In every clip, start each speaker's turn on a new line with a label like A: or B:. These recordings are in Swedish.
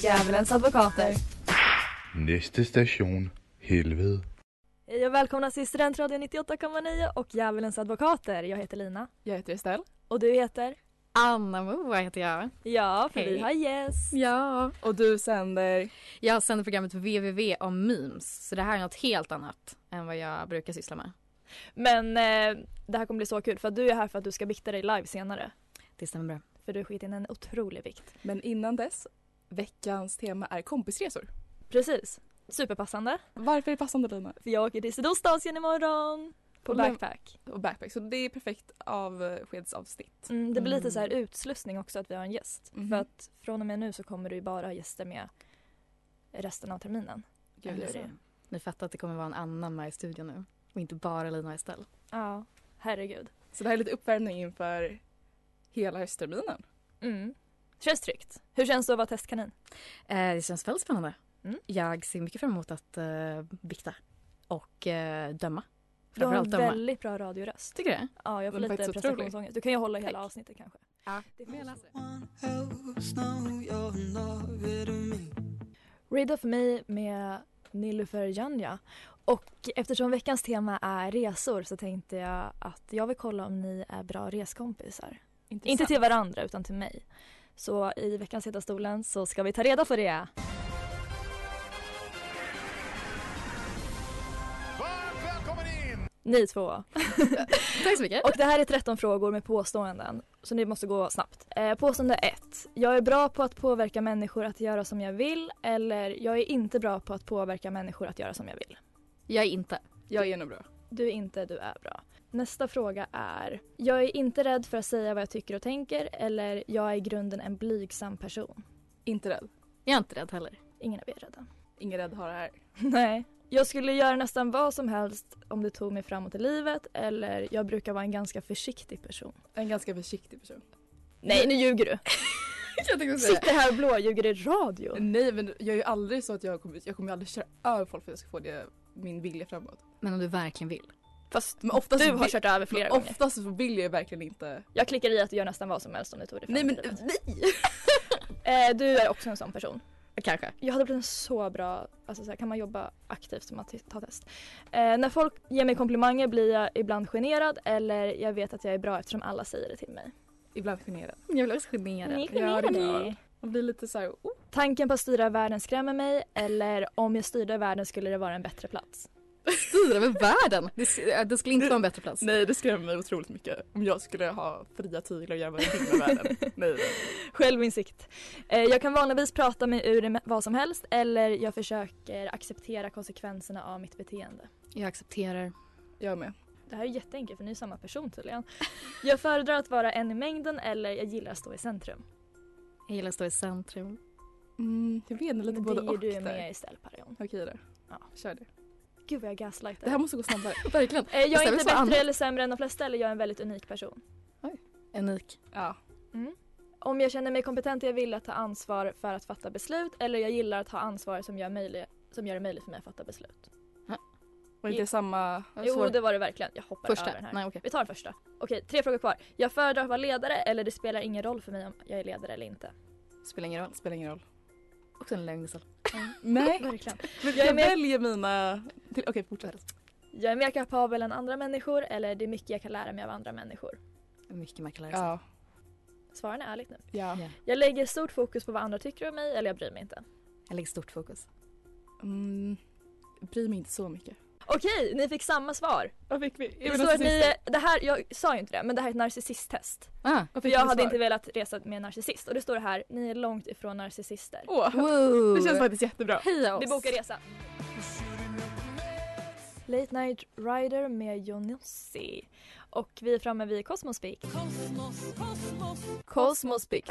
A: Djävulens advokater.
B: Næste station, helvede.
A: Hej och välkomna till Studentradion 98,9 och Djävulens advokater. Jag heter Lina.
C: Jag heter Estelle.
A: Och du heter?
D: Anna Moa heter jag.
A: Ja, för
D: Hej.
A: vi har gäst.
D: Ja.
C: Och du sänder...
D: Jag sänder programmet www om memes. Så det här är något helt annat än vad jag brukar syssla med.
A: Men eh, det här kommer bli så kul för att du är här för att du ska bikta dig live senare.
D: Det stämmer bra.
A: För du skit in en otrolig vikt.
C: Men innan dess, veckans tema är kompisresor.
A: Precis. Superpassande.
C: Varför är det passande Lina?
A: För jag åker till Sydostasien imorgon. På
C: Och läm-
A: backpack.
C: Och backpack, så det är perfekt eh, avskedsavsnitt.
A: Mm, det blir lite
D: Mm.
A: så här utslussning också att vi har en gäst.
C: Mhm.
A: För att från och med nu så kommer du ju bara ha gäster med resten av terminen.
C: Gud,
A: Eller
C: jag
A: det.
C: ser.
D: Ni fattar att det kommer vara en annan med i studion nu. Och inte bara Lina och Estelle.
A: Ja. Herregud.
C: Så det här är lite uppvärmning inför hela höstterminen.
A: Mm. Känns tryggt. Hur känns det att vara testkanin?
D: Eh, det känns väldigt spännande.
A: Mm.
D: Jag ser mycket fram emot att eh, bikta. Och eh, döma.
A: Du har en
D: Framförallt döma.
A: väldigt bra radioröst.
D: Tycker du det?
A: Ja, jag får
C: Den är
A: lite
C: faktiskt otrolig.
A: prestationsångest. Du kan ju hålla hela avsnittet kanske.
D: Ja.
A: Det
D: Men jag läser.
A: Read of Me med Nilufer Janja. Och eftersom veckans tema är resor så tänkte jag att jag vill kolla om ni är bra reskompisar. Inte till varandra utan till mig. Så i veckans Heta stolen så ska vi ta reda på det. Ni två.
D: Tack så mycket.
A: Och det här är 13 frågor med påståenden. Så ni måste gå snabbt. Eh, påstående 1. Jag är bra på att påverka människor att göra som jag vill. Eller jag är inte bra på att påverka människor att göra som jag vill.
D: Jag är inte.
C: Jag är nog bra.
A: Du är inte, du är bra. Nästa fråga är. Jag är inte rädd för att säga vad jag tycker och tänker. Eller jag är i grunden en blygsam person.
C: Inte rädd.
D: Jag är inte rädd heller.
A: Ingen av er är rädda.
C: Ingen rädd har det här.
A: Nej. Jag skulle göra nästan vad som helst om det tog mig framåt i livet. Eller jag brukar vara en ganska försiktig person.
C: En ganska försiktig person.
A: Nej, nu ljuger du.
D: jag tänkte
A: Sitter här och blåljuger i radio.
C: Nej men jag är ju aldrig så att jag kommer, jag kommer ju aldrig köra över folk för att jag ska få det, min vilja framåt.
D: Men om du verkligen vill.
A: Fast
C: Men oftast,
A: du har
C: vill-
A: kört över flera
C: men
A: gånger.
C: oftast så vill jag ju verkligen inte.
A: Jag klickar i att du gör nästan vad som helst om du tog det
C: Nej men
A: framtiden.
C: nej!
A: eh, Du är också en sån person.
D: Kanske.
A: Jag hade blivit en så bra, alltså så här, kan man jobba aktivt med att ta test. Eh, när folk ger mig komplimanger blir jag ibland generad eller jag vet att jag är bra eftersom alla säger det till mig.
C: Ibland generad.
D: Jag blir också generad.
A: Ni är
C: Ja, det kan jag
A: generade.
C: vara. Man blir lite såhär, oh.
A: Tanken på att styra världen skrämmer mig eller om jag styrde världen skulle det vara en bättre plats.
D: Styr över världen. Det, det skulle inte vara en bättre plats.
C: Nej det skrämmer mig otroligt mycket om jag skulle ha fria tyglar och göra vad jag vill med världen. Nej, nej.
A: Självinsikt. Eh, jag kan vanligtvis prata mig ur det med- vad som helst eller jag försöker acceptera konsekvenserna av mitt beteende.
D: Jag accepterar.
C: Jag med.
A: Det här är jätteenkelt för ni är samma person tydligen. Jag föredrar att vara en i mängden eller jag gillar att stå i centrum.
D: Jag gillar att stå i centrum.
C: Mm, jag vet inte, lite
A: Men
C: både
A: det är
C: och
A: du
C: där.
A: med istället Parion.
C: Okej då.
A: Ja.
C: Kör det.
A: Gud vad jag gaslightar.
C: Det här måste gå snabbare.
D: Verkligen.
A: Eh, jag är
D: Istället
A: inte
D: så
A: bättre
D: annat.
A: eller sämre än de flesta eller jag är en väldigt unik person.
D: Unik.
C: Ja.
A: Om jag känner mig kompetent är jag villig att ta ansvar för att fatta beslut eller jag gillar att ha ansvar som gör, möjlig, som gör det möjligt för mig att fatta beslut.
C: Var inte det samma?
A: Jo det var det verkligen. Jag hoppar över
D: Första.
A: den här.
D: Nej okej.
A: Vi tar den första. Okej, tre frågor kvar. Jag föredrar att vara ledare eller det spelar ingen roll för mig om jag är ledare eller inte.
D: Spelar ingen roll.
C: Spelar ingen roll.
D: Också en lögn istället.
C: Nej.
A: Verkligen.
C: Men
A: Jag
C: jag
A: är med.
C: väljer mina... till- Okej fortsätt.
A: Jag är mer kapabel än andra människor eller det är mycket jag kan lära mig av andra människor.
D: Mycket märkligare. Ja.
C: Ja.
A: Svaren är ärligt nu.
C: ja.
A: Jag lägger stort fokus på vad andra tycker om mig eller jag bryr mig inte.
D: Jag lägger stort fokus.
C: Mm, bryr mig inte så mycket.
A: Okej, ni fick samma svar.
C: Vad fick vi?
A: Det
D: alltså,
A: står att ni, är- det här, jag sa ju inte det, men det här är ett narcissisttest.
D: Ah.
A: För jag hade inte velat resa med en narcissist och det står det här, ni är långt ifrån narcissister.
C: Åh,
D: Wow.
C: det känns faktiskt jättebra.
D: Heja oss.
A: Vi bokar resa. Late Night Rider med Jonossi. Och vi är framme vid Cosmos Bikt. Cosmos Bikt.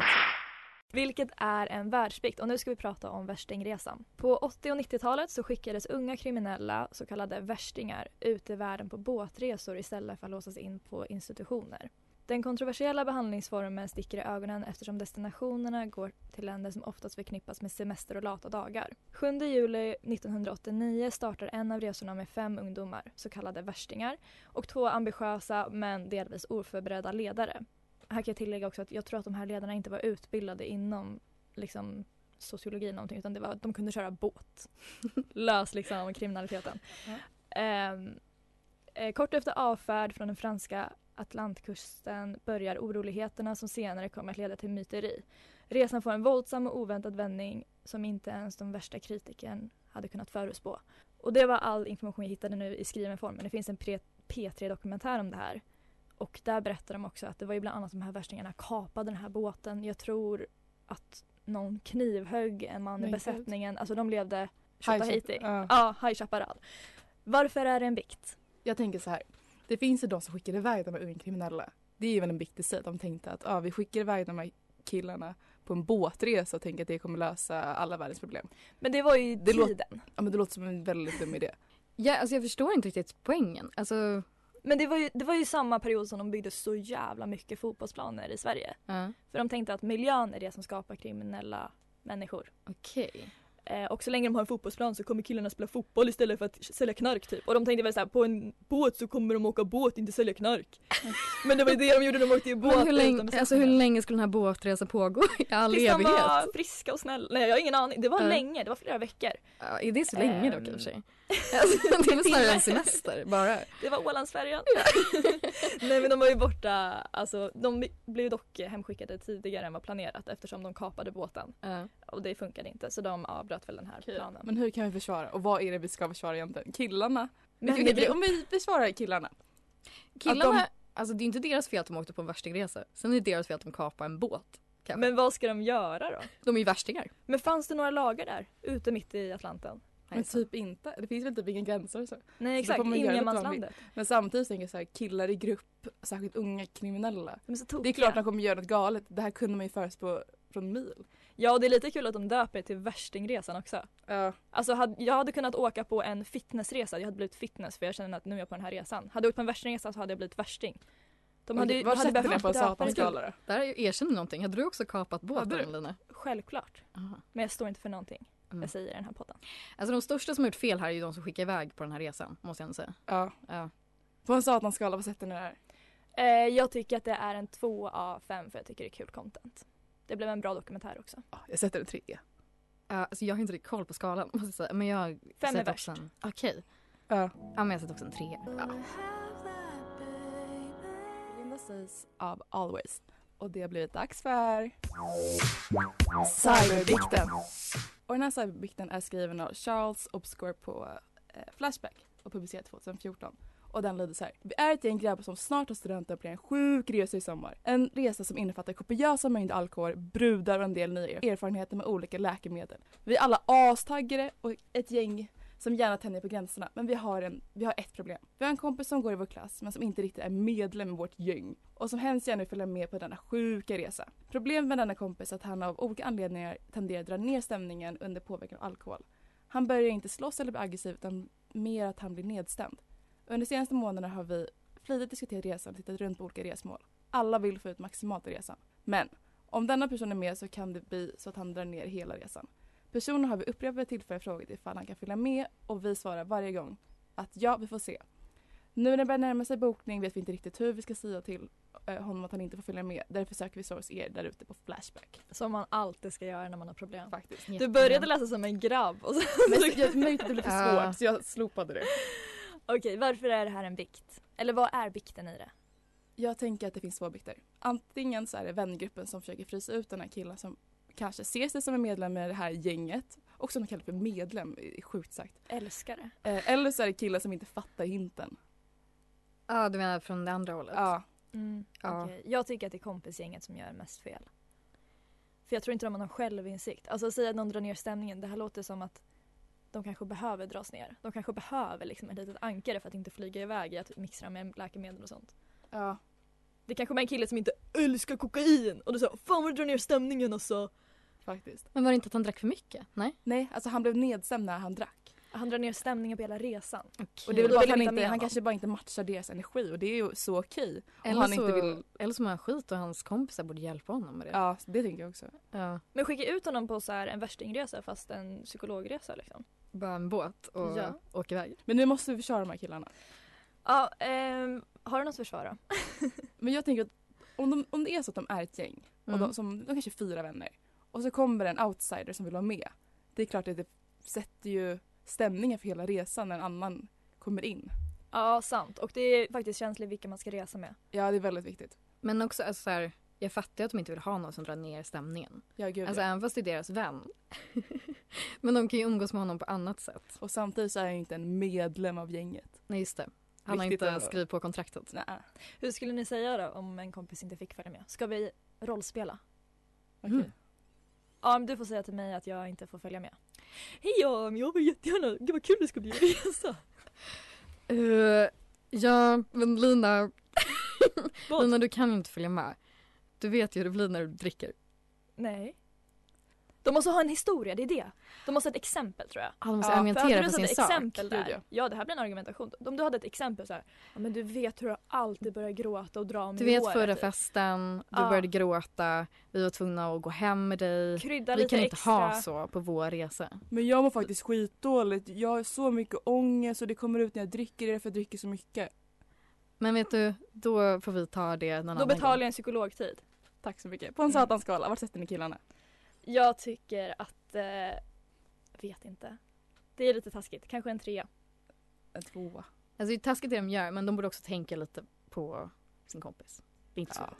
A: Vilket är en världsbikt och nu ska vi prata om värstingresan. På 80 och 90-talet så skickades unga kriminella, så kallade värstingar, ut i världen på båtresor istället för att låsas in på institutioner. Den kontroversiella behandlingsformen sticker i ögonen eftersom destinationerna går till länder som oftast förknippas med semester och lata dagar. 7 juli 1989 startar en av resorna med fem ungdomar, så kallade värstingar, och två ambitiösa men delvis oförberedda ledare. Här kan jag tillägga också att jag tror att de här ledarna inte var utbildade inom liksom, sociologi eller någonting utan det var att de kunde köra båt. Lös liksom kriminaliteten. Ehm, eh, kort efter avfärd från den franska Atlantkusten börjar oroligheterna som senare kommer att leda till myteri. Resan får en våldsam och oväntad vändning som inte ens de värsta kritikern hade kunnat förutspå. Och det var all information jag hittade nu i skriven form men det finns en pre- P3-dokumentär om det här. Och där berättar de också att det var ju bland annat de här värstingarna kapade den här båten. Jag tror att någon knivhögg en man i
C: Men gud.
A: besättningen. Alltså de levde
C: High
A: High Haiti.
C: Chap- ja.
A: Ja, High Chaparral. Varför är det en bikt?
C: Jag tänker så här. Det finns ju de som skickar iväg de här ungkriminella. Det är ju väl en bikt i sig. De tänkte att ah, vi skickar iväg de här killarna på en båtresa och tänker att det kommer lösa alla världens problem.
A: Men det var ju
C: Det låter-
A: tiden.
C: Ja men det låter som en väldigt dum idé.
D: Ja, alltså jag förstår inte riktigt poängen. Alltså,
A: Men det var, ju, det var ju samma period som de byggde så jävla mycket fotbollsplaner i Sverige.
D: ja.
A: För de tänkte att miljön är det som skapar kriminella människor.
D: okej.
A: Eh, och så länge de har en fotbollsplan så kommer killarna spela fotboll istället för att sälja knark typ. Och de tänkte väl såhär, på en båt så kommer de åka båt, inte sälja knark. Men det var ju det de gjorde, de åkte ju båt
D: Men hur
A: utan
D: länge,
A: besättningar.
D: alltså hur länge skulle den här båtresan pågå? I all
A: Tills de
D: evighet?
A: var friska och snälla. Nej jag har ingen aning, det var
D: Ja.
A: länge, det var flera veckor.
D: Ja, är det så länge
A: Ehm.
D: dock i och för sig? Alltså, det är väl snarare en semester bara.
A: Det var Ålandsfärjan. Nej men de var ju borta, alltså de blev dock hemskickade tidigare än vad planerat eftersom de kapade båten.
D: Ja.
A: Och det funkade inte så de avbröt väl den här planen.
C: Men hur kan vi försvara? Och vad är det vi ska försvara egentligen? Killarna?
A: Men
C: Okej, vi- om vi försvarar killarna.
D: Killarna, alltså det är inte deras fel att de åkte på en värstingresa. Sen är det deras fel att de kapar en båt.
A: Men vad ska de göra då?
D: De är ju värstingar.
A: Men fanns det några lagar där? Ute mitt i Atlanten?
C: Men typ inte. Det finns väl typ inga gränser och så.
A: Nej
C: exakt,
A: exakt,
C: ingenmanslandet.
A: ingenmanslandet.
C: Men samtidigt tänker jag så här, killar i grupp, särskilt unga kriminella.
A: De är så
C: Det är klart de kommer göra något galet. Det här kunde man ju förutspå från mil.
A: Ja och det är lite kul att de döper till värstingresan också.
C: Ja.
A: Alltså hade, jag hade kunnat åka på en fitnessresa, jag hade blivit fitness för jag känner att nu är jag på den här resan. Hade jag åkt på en värstingresa så hade jag blivit värsting. De hade, ju-
C: Vad
A: de hade
C: sätter ni på
A: döpa det
C: en
A: till-
C: satanskala då?
D: Där erkänner någonting. Hade du också kapat
C: Hade
D: båten
C: du?
D: Lina?
A: Självklart.
D: Aha.
A: Men jag står inte för någonting
D: Mm.
A: jag säger i den här podden.
D: Alltså de största som har gjort fel här är ju de som skickar iväg på den här resan, måste jag ändå säga.
C: Ja.
D: Ja.
C: På en satanskala, vad sätter ni där?
A: Eh, jag tycker att det är en 2 av 5 för jag tycker det är kul content. Det blev en bra dokumentär också.
C: Ja, jag sätter en trea.
D: Ja, alltså jag har inte riktigt koll på skalan, måste jag säga. Men jag
A: Fem är
D: sätter
A: värst.
D: också en... Okej.
C: Ja.
D: Ja, men jag sätter också en trea.
C: Linda sägs av Always. Och det har blivit dags för... Cyberbikten. Och den här cyberbikten är skriven av Charles Obscore på eh, Flashback och publicerad 2014. Och den lyder så här. Vi är ett gäng grabbar som snart tar studenten på en sjuk resa i sommar. En resa som innefattar kopiösa mängder alkohol, brudar och en del nya erfarenheter med olika läkemedel. Vi är alla astaggade och ett gäng som gärna tänjer på gränserna. Men vi har, en, vi har ett problem. Vi har en kompis som går i vår klass men som inte riktigt är medlem i vårt gäng och som hemskt gärna vill följa med på denna sjuka resa. Problemet med denna kompis är att han av olika anledningar tenderar att dra ner stämningen under påverkan av alkohol. Han börjar inte slåss eller bli aggressiv utan mer att han blir nedstämd. Under de senaste månaderna har vi flitigt diskuterat resan och tittat runt på olika resmål. Alla vill få ut maximalt av resan. Men om denna person är med så kan det bli så att han drar ner hela resan. Personen har vid upprepade tillfällen frågat ifall han kan följa med och vi svarar varje gång att ja, vi får se. Nu när det börjar närma sig bokning vet vi inte riktigt hur vi ska säga till eh, honom att han inte får följa med. Därför söker vi source er där ute på Flashback.
A: Som man alltid ska göra när man har problem.
C: Faktiskt.
A: Du började läsa som en grabb och så...
C: Men så- jag märkte att det blev för
D: Ja.
C: svårt så jag slopade det.
A: Okej, varför är det här en bikt? Eller vad är bikten i det?
C: Jag tänker att det finns två bikter. Antingen så är det vängruppen som försöker frysa ut den här killen som kanske ser sig som en medlem i det här gänget och som de kallar för medlem, är sjukt sagt.
A: Älskare.
C: Eh, eller så är det killen som inte fattar hinten.
D: Ja, du menar från det andra hållet?
C: Ja,
A: Mm,
D: Ja.
A: okej. Jag tycker att det är kompisgänget som gör mest fel. För jag tror inte de har någon självinsikt. Alltså säga att någon drar ner stämningen, det här låter som att de kanske behöver dras ner. De kanske behöver liksom ett litet ankare för att inte flyga iväg i att mixtra med läkemedel och sånt.
C: Ja.
A: Det kanske var en kille som inte älskar kokain och du sa “Fan vad du drar ner stämningen alltså”.
C: Faktiskt.
D: Men var det inte att han drack för mycket? Nej.
C: Nej, alltså han blev nedstämd när han drack.
A: Han drar ner stämningen på hela resan.
C: Och det är väl
A: Då vill
C: bara för
A: han
C: han,
A: inte
C: inte,
A: med
C: han
A: honom.
C: kanske bara inte matchar deras energi och det är ju så okej. Om
D: Eller,
C: han
D: så,
C: inte vill...
D: eller så mår han skit och hans kompisar borde hjälpa honom med det.
C: Ja, det tänker jag också.
D: Ja.
A: Men skicka ut honom på så här en värstingresa fast en psykologresa liksom.
D: Bara en båt och
A: Ja.
D: åka iväg.
C: Men nu måste vi försvara de här killarna.
A: Ja, ehm, har du något försvar då?
C: Men jag tänker att om, de, om det är så att de är ett gäng, och
D: Mm.
C: de, som, de kanske är fyra vänner, och så kommer en outsider som vill vara med. Det är klart att det sätter ju stämningen för hela resan när en annan kommer in.
A: Ja, sant. Och det är faktiskt känsligt vilka man ska resa med.
C: Ja, det är väldigt viktigt.
D: Men också alltså, så här, jag fattar ju att de inte vill ha någon som drar ner stämningen.
C: Ja, gud,
D: Alltså
C: ja.
D: även fast det är deras vän. Men de kan ju umgås med honom på annat sätt.
C: Och samtidigt så är jag ju inte en medlem av gänget.
D: Nej just det. Han har
C: Viktigt
D: inte
C: att-
D: skrivit på kontraktet.
C: Nej,
A: Hur skulle ni säga då om en kompis inte fick följa med? Ska vi rollspela?
C: okej.
D: Mm.
A: Ja, men du får säga till mig att jag inte får följa med. Hej ja, men jag vill jättegärna, gud vad kul det ska bli att resa.
D: Eh, ja men Lina,
A: Vad?
D: Lina du kan ju inte följa med. Du vet ju hur det blir när du dricker.
A: Nej. De måste ha en historia, det är det. De måste ha ett exempel tror jag.
D: Ah, de måste
C: Ja, för
A: hade
D: argumentera
A: du
D: för
A: satt
D: sin
A: ett
D: sak.
A: exempel
C: Gud,
A: där.
C: ja.
A: Ja, det här blir en argumentation. Om du hade ett exempel så här. Ja, men du vet hur jag alltid börjar gråta och dra mig
D: Du
A: i
D: vet
A: håret,
D: förra
A: typ.
D: festen, du
A: Ja.
D: började gråta, vi var tvungna att gå hem med dig.
A: Krydda
D: Vi
A: lite
D: kan inte
A: extra.
D: ha så på vår resa.
C: Men jag mår faktiskt skitdåligt. Jag har så mycket ångest och det kommer ut när jag dricker. Det är därför jag dricker så mycket.
D: Men vet du, då får vi ta det någon
A: Då
D: annan
A: betalar
D: gång.
A: jag en psykologtid.
C: Tack så mycket.
D: Mm.
C: På en satanskala, vart sätter ni killarna?
A: Jag tycker att, eh, vet inte. Det är lite taskigt, kanske en trea.
C: En tvåa.
D: Alltså det är taskigt det de gör men de borde också tänka lite på sin kompis. Det är inte så.
C: Ja.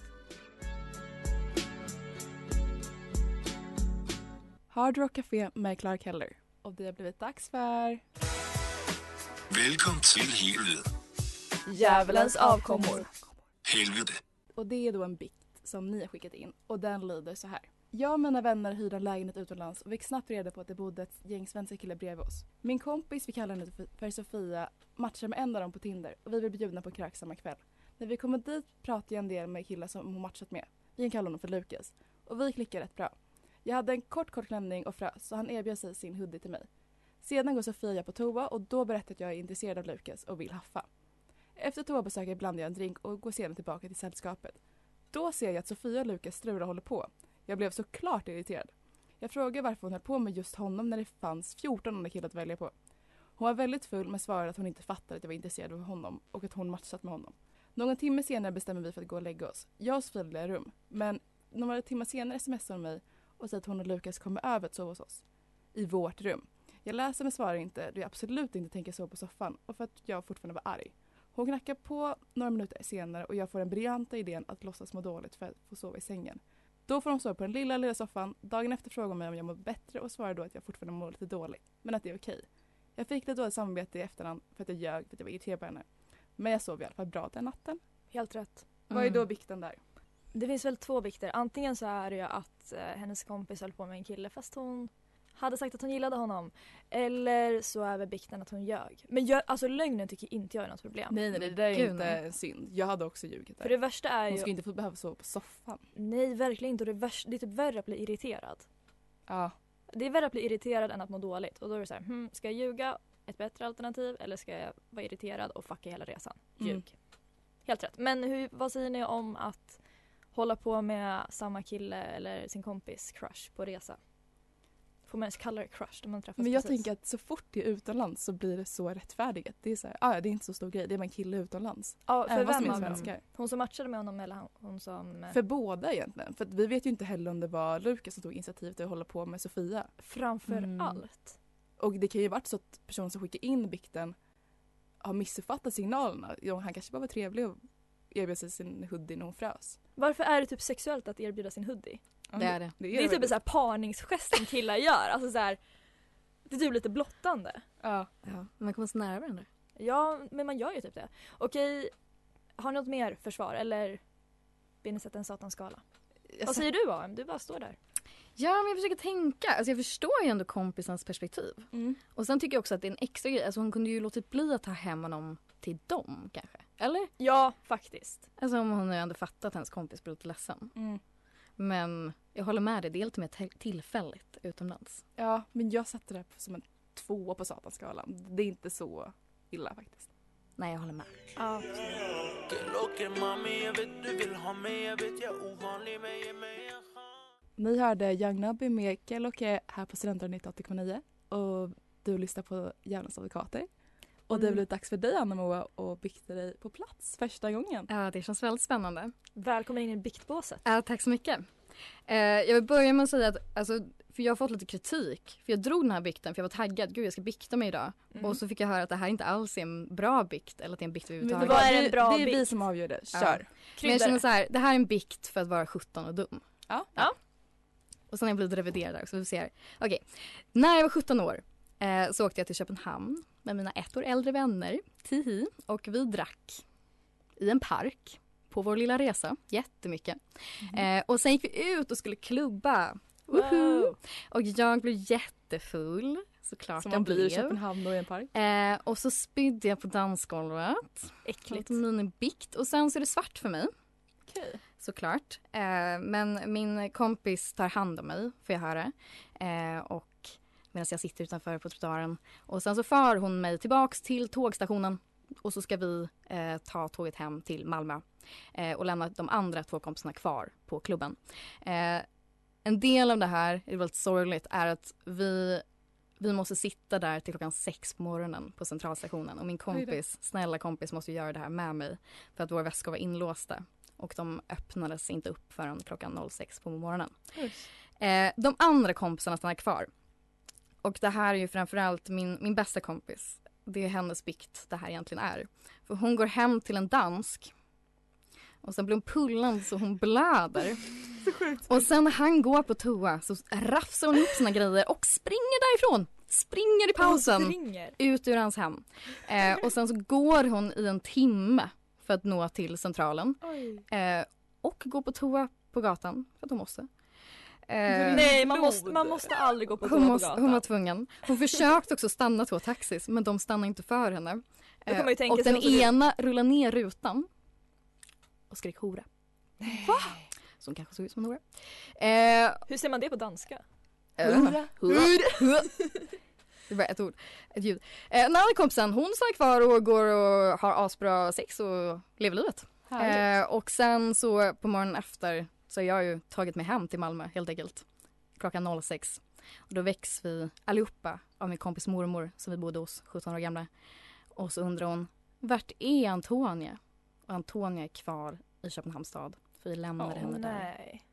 C: Hard Rock Café med Clark Heller. Och det har blivit dags för...
E: Velkommen til Helvede.
A: Djävulens avkommor.
E: Helvede.
C: Och det är då en bikt som ni har skickat in och den lyder så här. Jag och mina vänner hyrde en lägenhet utomlands och fick snabbt reda på att det bodde ett gäng svenska killar bredvid oss. Min kompis, vi kallar henne för- för Sofia, matchar med en av dem på Tinder och vi blev bjudna på kräk samma kväll. När vi kommer dit pratade jag en del med killar som hon matchat med. Vi kan kalla honom för Lukas. Och vi klickade rätt bra. Jag hade en kort kort klänning och frös så han erbjöd sig sin hoodie till mig. Sedan går Sofia och jag på toa och då berättar jag att jag är intresserad av Lukas och vill haffa. Efter toabesöket blandar jag en drink och går sedan tillbaka till sällskapet. Då ser jag att Sofia och Lukas strular och håller på. Jag blev såklart irriterad. Jag frågar varför hon höll på med just honom när det fanns 14 andra killar att välja på. Hon var väldigt full men svarade att hon inte fattade att jag var intresserad av honom och att hon matchat med honom. Någon timme senare bestämmer vi för att gå och lägga oss. Jag och Sofia delar rum, men några timmar senare smsar hon mig och säger att hon och Lukas kommer över att sova hos oss. I vårt rum. Jag läser men svarar inte då jag absolut inte tänker sova på soffan och för att jag fortfarande var arg. Hon knackar på några minuter senare och jag får den briljanta idén att låtsas må dåligt för att få sova i sängen. Då får de sova på den lilla, lilla soffan. Dagen efter frågar hon mig om jag mår bättre och svarar då att jag fortfarande mår lite dåligt, men att det är okej. Jag fick lite dåligt samvete i efterhand för att jag ljög för att jag var irriterad på henne. Men jag sov i alla fall bra den natten.
A: Helt rätt.
C: Vad är då bikten där?
A: Det finns väl två bikter. Antingen så är det ju att eh, hennes kompis höll på med en kille fast hon hade sagt att hon gillade honom. Eller så är väl bikten att hon ljög. Men jag, alltså lögnen tycker inte jag är något problem.
C: Nej, nej, det där är
D: Gud,
C: inte
D: nej.
C: en synd. Jag hade också ljugit
A: För
C: där.
A: det värsta är
C: Hon
A: ju...
C: ska inte få behöva sova på soffan.
A: Nej, verkligen inte. Och det, värsta, det är typ värre att bli irriterad.
C: Ja,
A: Det är värre att bli irriterad än att må dåligt. Och då är det så här, hmm, ska jag ljuga? Ett bättre alternativ. Eller ska jag vara irriterad och fucka hela resan? Ljug.
C: Mm.
A: Helt rätt. Men hur, vad säger ni om att hålla på med samma kille eller sin kompis crush på resa? Får man ens kalla det crush när man träffas
C: men jag
A: precis?
C: tänker att så fort det är utomlands så blir det så rättfärdigat. Det är så här, ah, ja, det är inte så stor grej. Det är bara en kille utomlands.
A: Ja, för
C: Även fast de
A: vem
C: är
A: av dem?
C: svenskar.
A: Hon som matchade med honom eller han- hon som... eh,
C: För båda egentligen. För att vi vet ju inte heller om det var Lukas som tog initiativet till att hålla på med Sofia.
A: Framför
D: Mm.
A: allt.
C: Och det kan ju varit så att personen som skickar in bikten har missuppfattat signalerna. Ja, Han kanske bara var trevlig och erbjöd sig sin hoodie när hon frös.
A: Varför är det typ sexuellt att erbjuda sin hoodie?
D: Det är det.
A: Det är typ en
C: väldigt-
A: sån här parningsgest som killar gör. Alltså så här, det är typ lite blottande.
C: Ja.
D: Ja. Man kommer så nära varandra.
A: Ja, men man gör ju typ det. Okej, har ni något mer försvar eller vill ni sätta en satanskala?
C: Jag
A: Vad
D: Alltså-
C: satt,
A: säger du AM? Du bara står där.
D: Ja, men jag försöker tänka. Alltså jag förstår ju ändå kompisens perspektiv.
C: Mm.
D: Och sen tycker jag också att det är en extra grej. Alltså hon kunde ju låtit bli att ta hem honom till dem kanske. Eller?
A: Ja, faktiskt.
D: Alltså om hon nu ändå fattat att hennes kompis blev lite ledsen.
C: Mm.
D: Men jag håller med dig, det är lite mer te- tillfälligt utomlands.
C: Ja, men jag satte det här som en tvåa på satanskalan. Det är inte så illa faktiskt.
D: Nej, jag håller med.
A: Ja.
C: Ni hörde Young Nubby med Kellocke här på Studentradion 98,9 och du lyssnar på Djävulens advokater. Och det har
A: Mm.
C: blivit dags för dig Anna Moa att bikta dig på plats första gången.
D: Ja, det känns väldigt spännande.
A: Välkommen in i biktbåset.
D: Ja, tack så mycket. Eh, jag vill börja med att säga att alltså, för jag har fått lite kritik. För jag drog den här bikten för jag var taggad. Gud, jag ska bikta mig idag. Och så fick jag höra att det här inte alls är en bra bikt eller att det är en bikt
C: Mm. Men
D: överhuvudtaget.
A: vad är en bra
C: det är vi
A: bikt?
C: som avgör det.
D: Ja.
C: Kör!
D: Men jag känner så här, det här är en bikt för att vara 17 och dum.
C: Ja.
D: Och sen har jag blivit reviderad där, så vi får se här. Okej. När jag var 17 år eh, så åkte jag till Köpenhamn med mina ett år äldre vänner, Tihi, och vi drack i en park på vår lilla resa, jättemycket.
C: Mhm.
D: Eh, och sen gick vi ut och skulle klubba. Woho! Och jag blev jättefull, såklart
C: Som
D: jag
C: man blir i
D: blev.
C: Köpenhamn och i en park.
D: Eh, och så spydde jag på dansgolvet.
A: Äckligt.
D: Lite minibikt. Och sen så är det svart för mig. Såklart. Eh, men min kompis tar hand om mig, får jag höra. Eh, och medan jag sitter utanför på trottoaren. Och sen så för hon mig tillbaks till tågstationen. Och så ska vi eh, ta tåget hem till Malmö. Eh, och lämna de andra två kompisarna kvar på klubben. Eh, en del av det här, det är väldigt sorgligt, är att vi vi måste sitta där till klockan sex på morgonen på centralstationen och min kompis, snälla kompis, måste ju göra det här med mig för att våra väskor var inlåsta och de öppnades inte upp förrän klockan 06 på morgonen. Eh, de andra kompisarna stannar kvar. Och det här är ju framförallt min, min bästa kompis. Det är hennes bikt det här egentligen är. För hon går hem till en dansk och sen blir hon pullad så hon blöder. Och sen när han går på toa så rafsar hon ihop sina grejer och springer därifrån. Springer i pausen
A: Ringer.
D: ut ur hans hem. Eh, och sen så går hon i en timme för att nå till centralen.
A: Oj.
D: Eh, och går på toa på gatan, för att hon måste. Eh,
A: Nej, man måste, man måste aldrig gå på toa
D: hon,
A: på
D: måste, hon var
A: gatan.
D: tvungen. Hon försökte också stanna två taxis men de stannade inte för henne. Eh,
A: Då kan man ju tänka
D: och
A: sig
D: den
A: hon såg ut-
D: ena rullade ner rutan och skrek hora. Va? Så hon kanske såg ut som en hora. Eh,
A: Hur ser man det på danska?
D: Hurra, hurra. Det var ett ord, ett ljud. Eh, den andra kompisen hon stannar kvar och går och har asbra sex och lever livet. Eh, och sen så på morgonen efter så har jag ju tagit mig hem till Malmö helt enkelt. Klockan 06. Och då väcks vi allihopa av min kompis mormor som vi bodde hos, 17 år gamla. Och så undrar hon, vart är Antonia? Och Antonia är kvar i Köpenhamns stad. För vi lämnade henne där.
A: nej.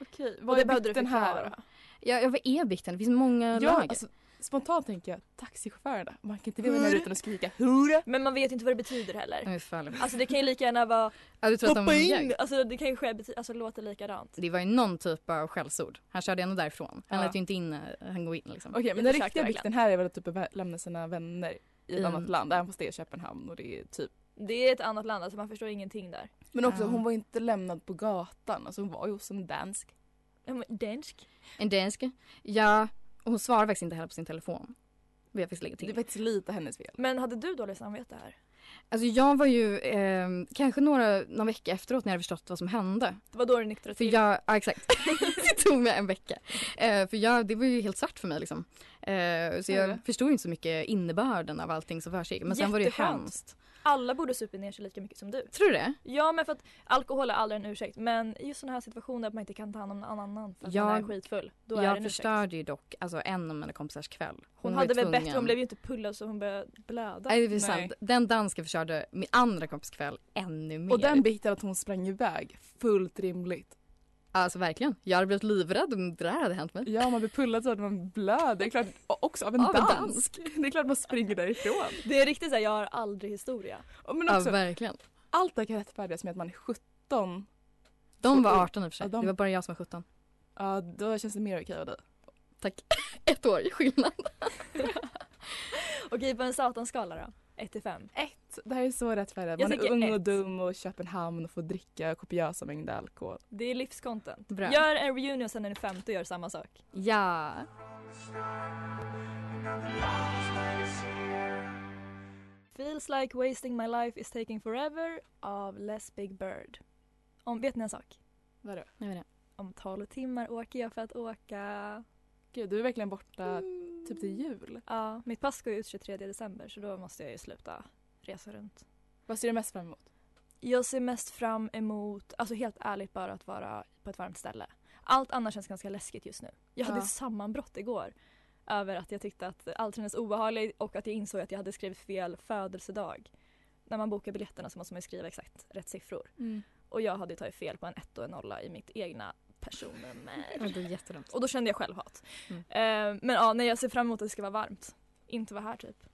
C: Okej,
A: Och
C: vad
A: det
C: är
A: behövde du
C: bikten här
A: förklara.
C: då?
D: Ja, jag var e-bikten, det finns många
C: Ja,
D: lager.
C: alltså, spontant tänker jag taxichaufförerna. Man kan inte veva ner utan att skrika hurra.
A: Men man vet ju inte vad det betyder heller.
D: Nej, fan.
A: Alltså det kan ju lika gärna vara
D: Ja, du Mm. tror att de ljög?
A: Alltså det kan ju ske, bety- alltså låta likadant.
D: Det var ju någon typ av skällsord. Han körde ändå därifrån. Han
C: Ja.
D: lät ju inte in, eh, han går in liksom.
C: Okej, men
A: Jag
C: den
A: försökte
C: riktiga
A: verkligen.
C: bikten här är väl att typ vä- lämna sina vänner i ett
D: Mm.
C: annat land, även fast det är Köpenhamn och det är typ
A: Det är ett annat land, alltså man förstår ingenting där.
C: Men också
D: Ja.
C: hon var inte lämnad på gatan, alltså hon var ju hos en dansk.
A: Ja, men Dansk?
D: En dansk. Ja, och hon svarade faktiskt inte heller på sin telefon. Vill jag faktiskt lägga
C: Det är
D: till.
C: faktiskt lite hennes fel.
A: Men hade du dåligt samvete här?
D: Alltså jag var ju eh, kanske några, någon vecka efteråt när jag hade förstått vad som hände.
A: Det var då du nyktrade
D: För
A: till?
D: jag, ja exakt. det tog mig en vecka. Eh, för jag, det var ju helt svart för mig liksom. Eh, så jag
C: Mm.
D: förstod inte så mycket innebörden av allting som försiggick. Men sen var det ju
A: Jätteskönt.
D: hemskt.
A: Alla borde supa ner sig lika mycket som du.
D: Tror du det?
A: Ja men för att alkohol är aldrig en ursäkt men i just sådana här situationer att man inte kan ta hand om någon annan för att man
D: Jag-
A: är skitfull. Då är det
D: jag
A: en ursäkt.
D: förstörde ju dock alltså, en av mina kompisars kväll. Hon,
A: Hon
D: var
A: hade
D: ju
A: väl bättre, hon
D: tvungen-
A: blev ju inte pullad så hon började blöda.
D: Nej, det är
C: Nej.
D: sant. Den dansken förstörde min andra kompis kväll ännu mer.
C: Och den biten att hon sprang iväg, fullt rimligt.
D: Alltså verkligen. Jag hade blivit livrädd om det där hade hänt mig.
C: Ja man blir pullad så att man blöder, det är klart, och också av en,
D: Av en
C: dansk. Det är klart man springer därifrån.
A: Det är riktigt såhär, jag har aldrig historia.
C: Och Men
D: Ja,
C: också,
D: verkligen.
C: allt det här kan rättfärdigas med att man är 17,
D: De var 18 i och för sig.
C: Ja, de-
D: Det var bara jag som var 17.
C: ja då känns det mer okej av dig.
D: Ett år i skillnad.
A: Okej på en satanskala då? 1 till 5.
C: Ett. rätt. Det här är så rättfärdigt.
A: Jag
C: Man är
A: tycker
C: ung och
A: ett.
C: dum och Köpenhamn och får dricka kopiösa mängder alkohol.
A: Det är livscontent.
D: Bra.
A: Gör en reunion sen när ni är 50 och gör samma sak.
D: Ja.
A: Feels like wasting my life is taking forever av Les Big Bird. Om, vet ni en sak?
C: Vadå?
D: Jag vet inte.
A: Om 12 timmar åker jag för att åka.
C: Gud, du är verkligen borta typ till jul.
A: Ja, mitt pass går ju ut 23 december så då måste jag ju sluta resa runt.
C: Vad ser du mest fram emot?
A: Jag ser mest fram emot, alltså helt ärligt bara att vara på ett varmt ställe. Allt annat känns ganska läskigt just nu. Jag hade
C: Ja.
A: ett sammanbrott igår över att jag tyckte att allt kändes obehagligt och att jag insåg att jag hade skrivit fel födelsedag. När man bokar biljetterna så måste man ju skriva exakt rätt siffror. Och jag hade ju tagit fel på en ett och en nolla i mitt egna personnummer.
D: Ja, Det är jättedumt.
A: Och då kände jag självhat.
D: Mm.
A: Eh, men ja, nej, jag ser fram emot att det ska vara varmt. Inte vara här typ.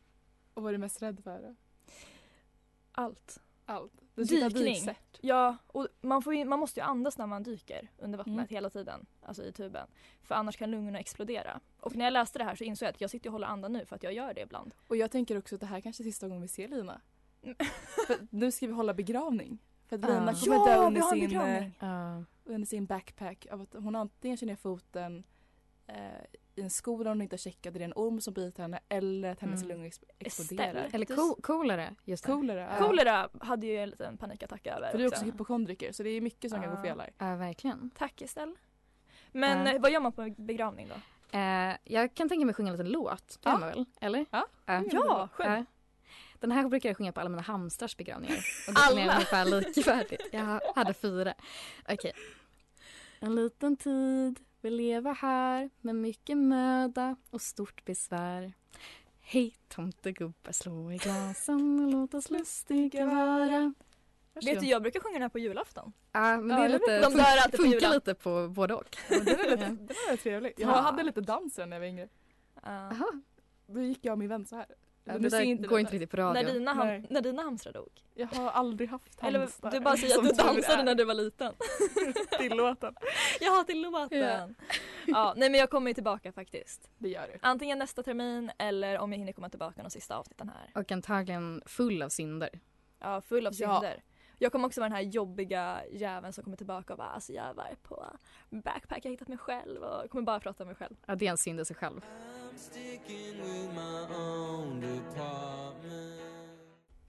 C: Och vad är du mest rädd för? då?
A: Allt.
C: Allt. typ Du ska hitta
A: Dykning.
C: dykcert.
A: Ja, och man, får ju, man måste ju andas när man dyker under vattnet
C: Mm.
A: hela tiden. Alltså i tuben. För annars kan lungorna explodera. Och när jag läste det här så insåg jag att jag sitter och håller andan nu för att jag gör det ibland.
C: Och jag tänker också att det här kanske är sista gången vi ser Lina. För nu ska vi hålla begravning. För att
D: Ah.
C: Lina kommer
A: Ja,
C: dö
A: vi
C: under
A: har en
C: sin, eh,
A: begravning.
D: Ja.
C: under sin backpack av att hon antingen kör ner foten eh, i en sko där hon inte har checkat, det är en orm som biter henne eller att hennes
D: Mm.
C: lungor exp- exploderar.
A: Estelle.
D: Eller ko- coolare just nu.
C: Kolera. ja.
A: Kolera hade ju en liten panikattack över
C: För du är också
A: också.
C: hypokondriker så det är mycket som kan gå
A: Ah.
C: fel här.
D: Ja, verkligen.
A: Tack Estelle. Men
D: Ja.
A: eh, vad gör man på en begravning då?
D: Eh, jag kan tänka mig att sjunga en liten låt. Det gör
C: Ja.
D: man väl? Eller?
C: Ja,
D: Ja,
A: Ja, själv.
D: Ja. Den här brukar jag sjunga på alla mina hamstrars begravningar. Och det alla? är
A: Alla?
D: ungefär likvärdigt. Jag hade fyra. Okej. En liten tid vill leva här med mycket möda och stort besvär. Hej tomtegubbar, slå i glasen och låt oss lustiga vara.
A: Vet du, jag brukar sjunga den här på julafton.
D: Ja, men det
C: Ja,
D: är
C: jag
D: lite,
A: vet. De dör alltid på
D: funkar
A: julen.
D: lite på både och.
C: Det var lite, det var lite trevligt. Jag
D: Ja.
C: hade lite dansen när jag var yngre.
A: Eh,
D: Aha,
C: Då gick jag och min vän så här.
D: ja,
C: Nu
D: det
C: ser
D: där
C: inte
D: går
C: det
D: inte riktigt på radio.
A: när, dina ham-
C: Nej.
A: när dina hamstrar dog.
C: Jag har aldrig haft
A: Eller du bara säger att du dansade när du var liten.
C: Tillåten.
A: Jaha, till låten.
D: Ja.
A: Ja, nej men jag kommer ju tillbaka faktiskt.
C: Det gör du.
A: Antingen nästa termin eller om jag hinner komma tillbaka de sista avsnitten här.
D: Och antagligen full av synder.
A: Ja, full av
C: Ja.
A: synder. Jag kommer också vara den här jobbiga jäveln som kommer tillbaka och bara alltså jag var på backpack, jag har hittat mig själv och kommer bara prata om mig själv.
D: Ja, det är en synd i sig själv.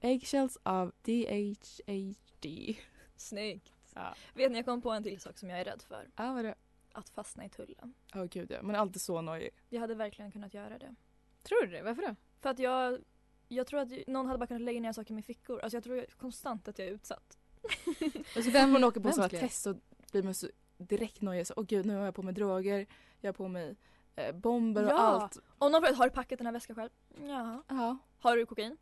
C: Eggshells av DHHD.
A: Snyggt.
C: Ja.
A: Vet ni, jag kom på en till sak som jag är rädd för.
C: Ja, vad det?
A: Att fastna i tullen.
C: Åh gud ja. Man är alltid så nojig.
A: Jag hade verkligen kunnat göra det.
D: Tror du det? Varför då?
A: För att jag, jag tror att någon hade bara kunnat lägga ner saker i mina fickor. Alltså jag tror konstant att jag är utsatt.
C: Och så vem man åker på
D: vem
C: sådana
D: skulle göra
C: test så blir man så direkt nojig. Så, Åh gud nu har jag på mig droger. Jag har på mig eh, bomber och
A: Ja.
C: allt.
A: Om någon frågar, har du packat den här väskan själv? Ja.
C: Ja.
A: Har du kokain?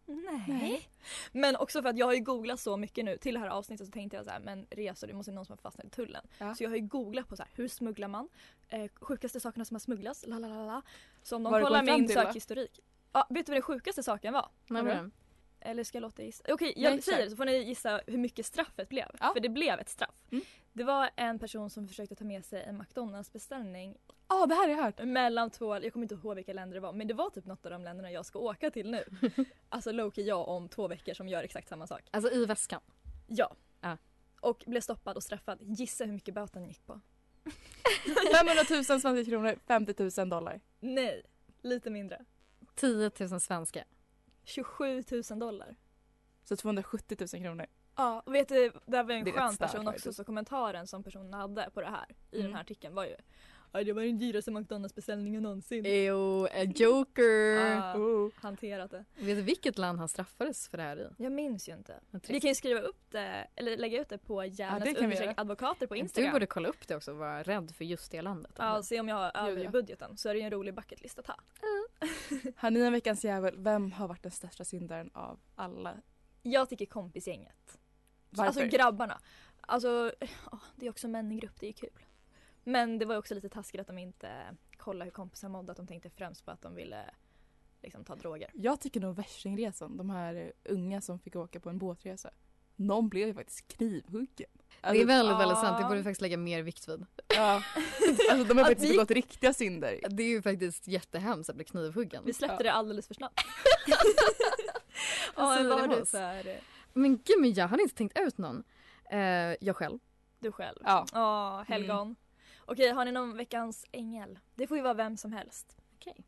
C: Nej.
A: Men också för att jag har ju googlat så mycket nu till det här avsnittet så tänkte jag så här, men resor det måste ju någon som har fastnat i tullen.
C: Ja.
A: Så jag har ju googlat på så här, hur smugglar man? Eh, sjukaste sakerna som har smugglats, la la la la. Så om
C: Vad
A: de
C: har du
A: kollar
C: kommit fram
A: min
C: till, va?
A: sökhistorik. Ja, vet du vad den sjukaste saken var?
D: Vad var det?
A: Eller ska jag låta er gissa? Okej, jag
C: Nej, kör.
A: säger det så får ni gissa hur mycket straffet blev.
C: Ja.
A: För det blev ett straff.
C: Mm.
A: Det var en person som försökte ta med sig en McDonalds beställning
C: Ja det här har jag hört.
A: mellan två, jag kommer inte ihåg vilka länder det var men det var typ något av de länderna jag ska åka till nu. Alltså Loki jag om två veckor som gör exakt samma sak.
D: Alltså i väskan.
A: Ja.
D: Ja.
A: Och blev stoppad och straffad. Gissa hur mycket böten gick på?
C: 500 000 svenska kronor, 50 000 dollar.
A: Nej, lite mindre.
D: 10 000 svenska.
A: 27 000 dollar.
C: Så 270 000 kronor.
A: Ja, och vet du, det var en
C: Det är
A: skön
C: rätt starkt
A: person också
C: faktiskt.
A: så kommentaren som personen hade på det här i
C: Mm.
A: den här artikeln var ju Ja det var den dyraste McDonalds-beställningen någonsin.
D: Jo, a joker!
A: Ja,
C: Oh.
A: hanterat det.
D: Vet du vilket land han straffades för det här i?
A: Jag minns ju inte.
D: Vad trist.
A: Vi kan ju skriva upp det, eller lägga ut det på
C: det
A: Järnets
C: kan vi
A: undersökning
C: göra.
A: advokater på Instagram.
D: Du borde kolla upp det också och vara rädd för just det landet.
A: Ja, och se om jag har över i
C: ja. Mm.
A: budgeten så är det ju en rolig bucketlist att ha.
C: Har ni en veckans jävel? Vem har varit den största syndaren av alla?
D: Alltså,
A: Jag tycker kompisgänget.
C: Varför?
A: Alltså grabbarna. Alltså, ja, det är också män i grupp, det är ju kul. Men det var ju också lite taskigt att de inte kollade hur kompisar mådde, att de tänkte främst på att de ville liksom ta droger.
C: Jag tycker nog värstingresan, de här eh, unga som fick åka på en båtresa. Någon blev ju faktiskt knivhuggen. Alltså,
D: det är väldigt, väldigt
A: ja.
D: sant. Det borde vi faktiskt lägga mer vikt vid.
C: ja. alltså, de har
A: Att
C: faktiskt
A: vi-
C: begått riktiga synder.
D: Det är ju faktiskt jättehemskt att bli knivhuggen.
A: Vi släppte
C: Ja.
A: det alldeles för snabbt.
C: Alltså,
D: vad
C: det
D: var
C: var
D: det?
C: så
A: eh,
C: här,
D: Men gud, men jag hade inte tänkt ut någon. Eh, jag själv.
A: Du själv.
C: Ja. Mm.
A: Ja, helgon. Okej, har ni någon veckans ängel? Det får ju vara vem som helst.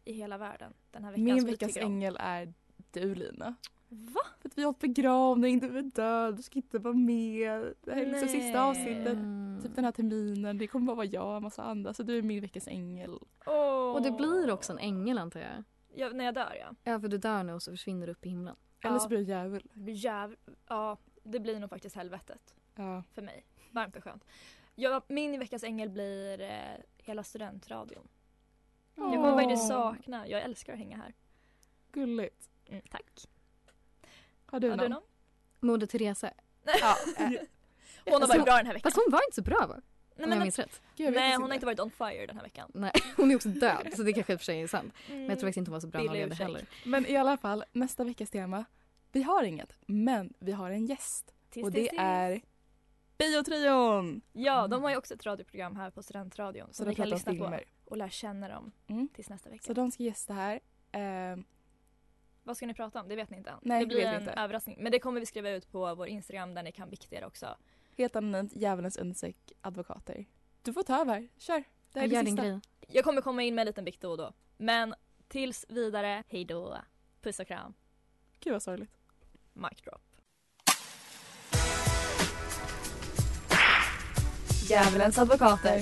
A: I hela världen. Den här veckan
C: min
A: som du
C: veckans
A: tycker om.
C: ängel är du Lina.
A: Va?
C: För att vi har haft begravning, du är död, du ska inte vara med. Det här är liksom sista avsnittet.
D: Mm.
C: Typ den här terminen, det kommer bara vara jag och en massa andra. Så du är min veckans ängel.
A: Åh.
D: Och du blir också en ängel antar jag.
A: Ja, när jag dör ja.
D: Ja, för du dör nu och så försvinner du upp i himlen.
C: Eller så
A: Ja.
C: blir du djävul.
A: Det blir Jäv... Ja, det blir nog faktiskt helvetet
C: Ja.
A: för mig. Varmt och skönt. Jag, min veckans ängel blir eh, hela studentradion. Jag kommer faktiskt sakna, jag älskar att hänga här.
C: Gulligt.
A: Mm, tack.
C: Har du,
A: Har du någon?
D: Moder Teresa.
C: Ja.
A: Hon har
D: Fast
A: varit
D: hon-
A: bra den här veckan.
D: Fast hon var inte så bra va?
A: Nej,
D: Om jag
A: men,
D: minns rätt.
C: Gud, jag vet
A: nej
C: faktiskt
A: hon har inte varit on fire den här veckan.
D: Nej, hon är också död så det kanske i och för sig är sant. Men jag tror faktiskt inte hon var så bra
A: Billig
D: när hon
A: ursäkt.
D: heller.
C: Men i alla fall, nästa veckas tema. Vi har inget, men vi har en gäst.
A: Tis,
C: och
A: tis,
C: det
A: tis.
C: är Biotrion!
A: Ja, de har ju också ett radioprogram här på Studentradion
C: Så
A: som
C: de
A: ni kan
C: pratar om
A: lyssna
C: filmer.
A: på och lära känna dem
C: Mm.
A: tills nästa vecka.
C: Så de ska gästa här. Ehm,
A: Vad ska ni prata om? Det vet ni inte än.
C: Nej,
A: det
C: det
A: blir
C: vet vi
A: en
C: inte.
A: överraskning. Men det kommer vi skriva ut på vår Instagram där ni kan vikta er också.
C: helt anonymt, djävulens undersök, advokater. Du får ta över, kör. Det här är
D: Gör
C: det
D: din
C: sista.
D: grej.
A: Jag kommer komma in med en liten bikt då och då. Men tills vidare, hej då. Puss och kram.
C: Gud vad sorgligt.
A: Mic drop.
C: Djävulens advokater.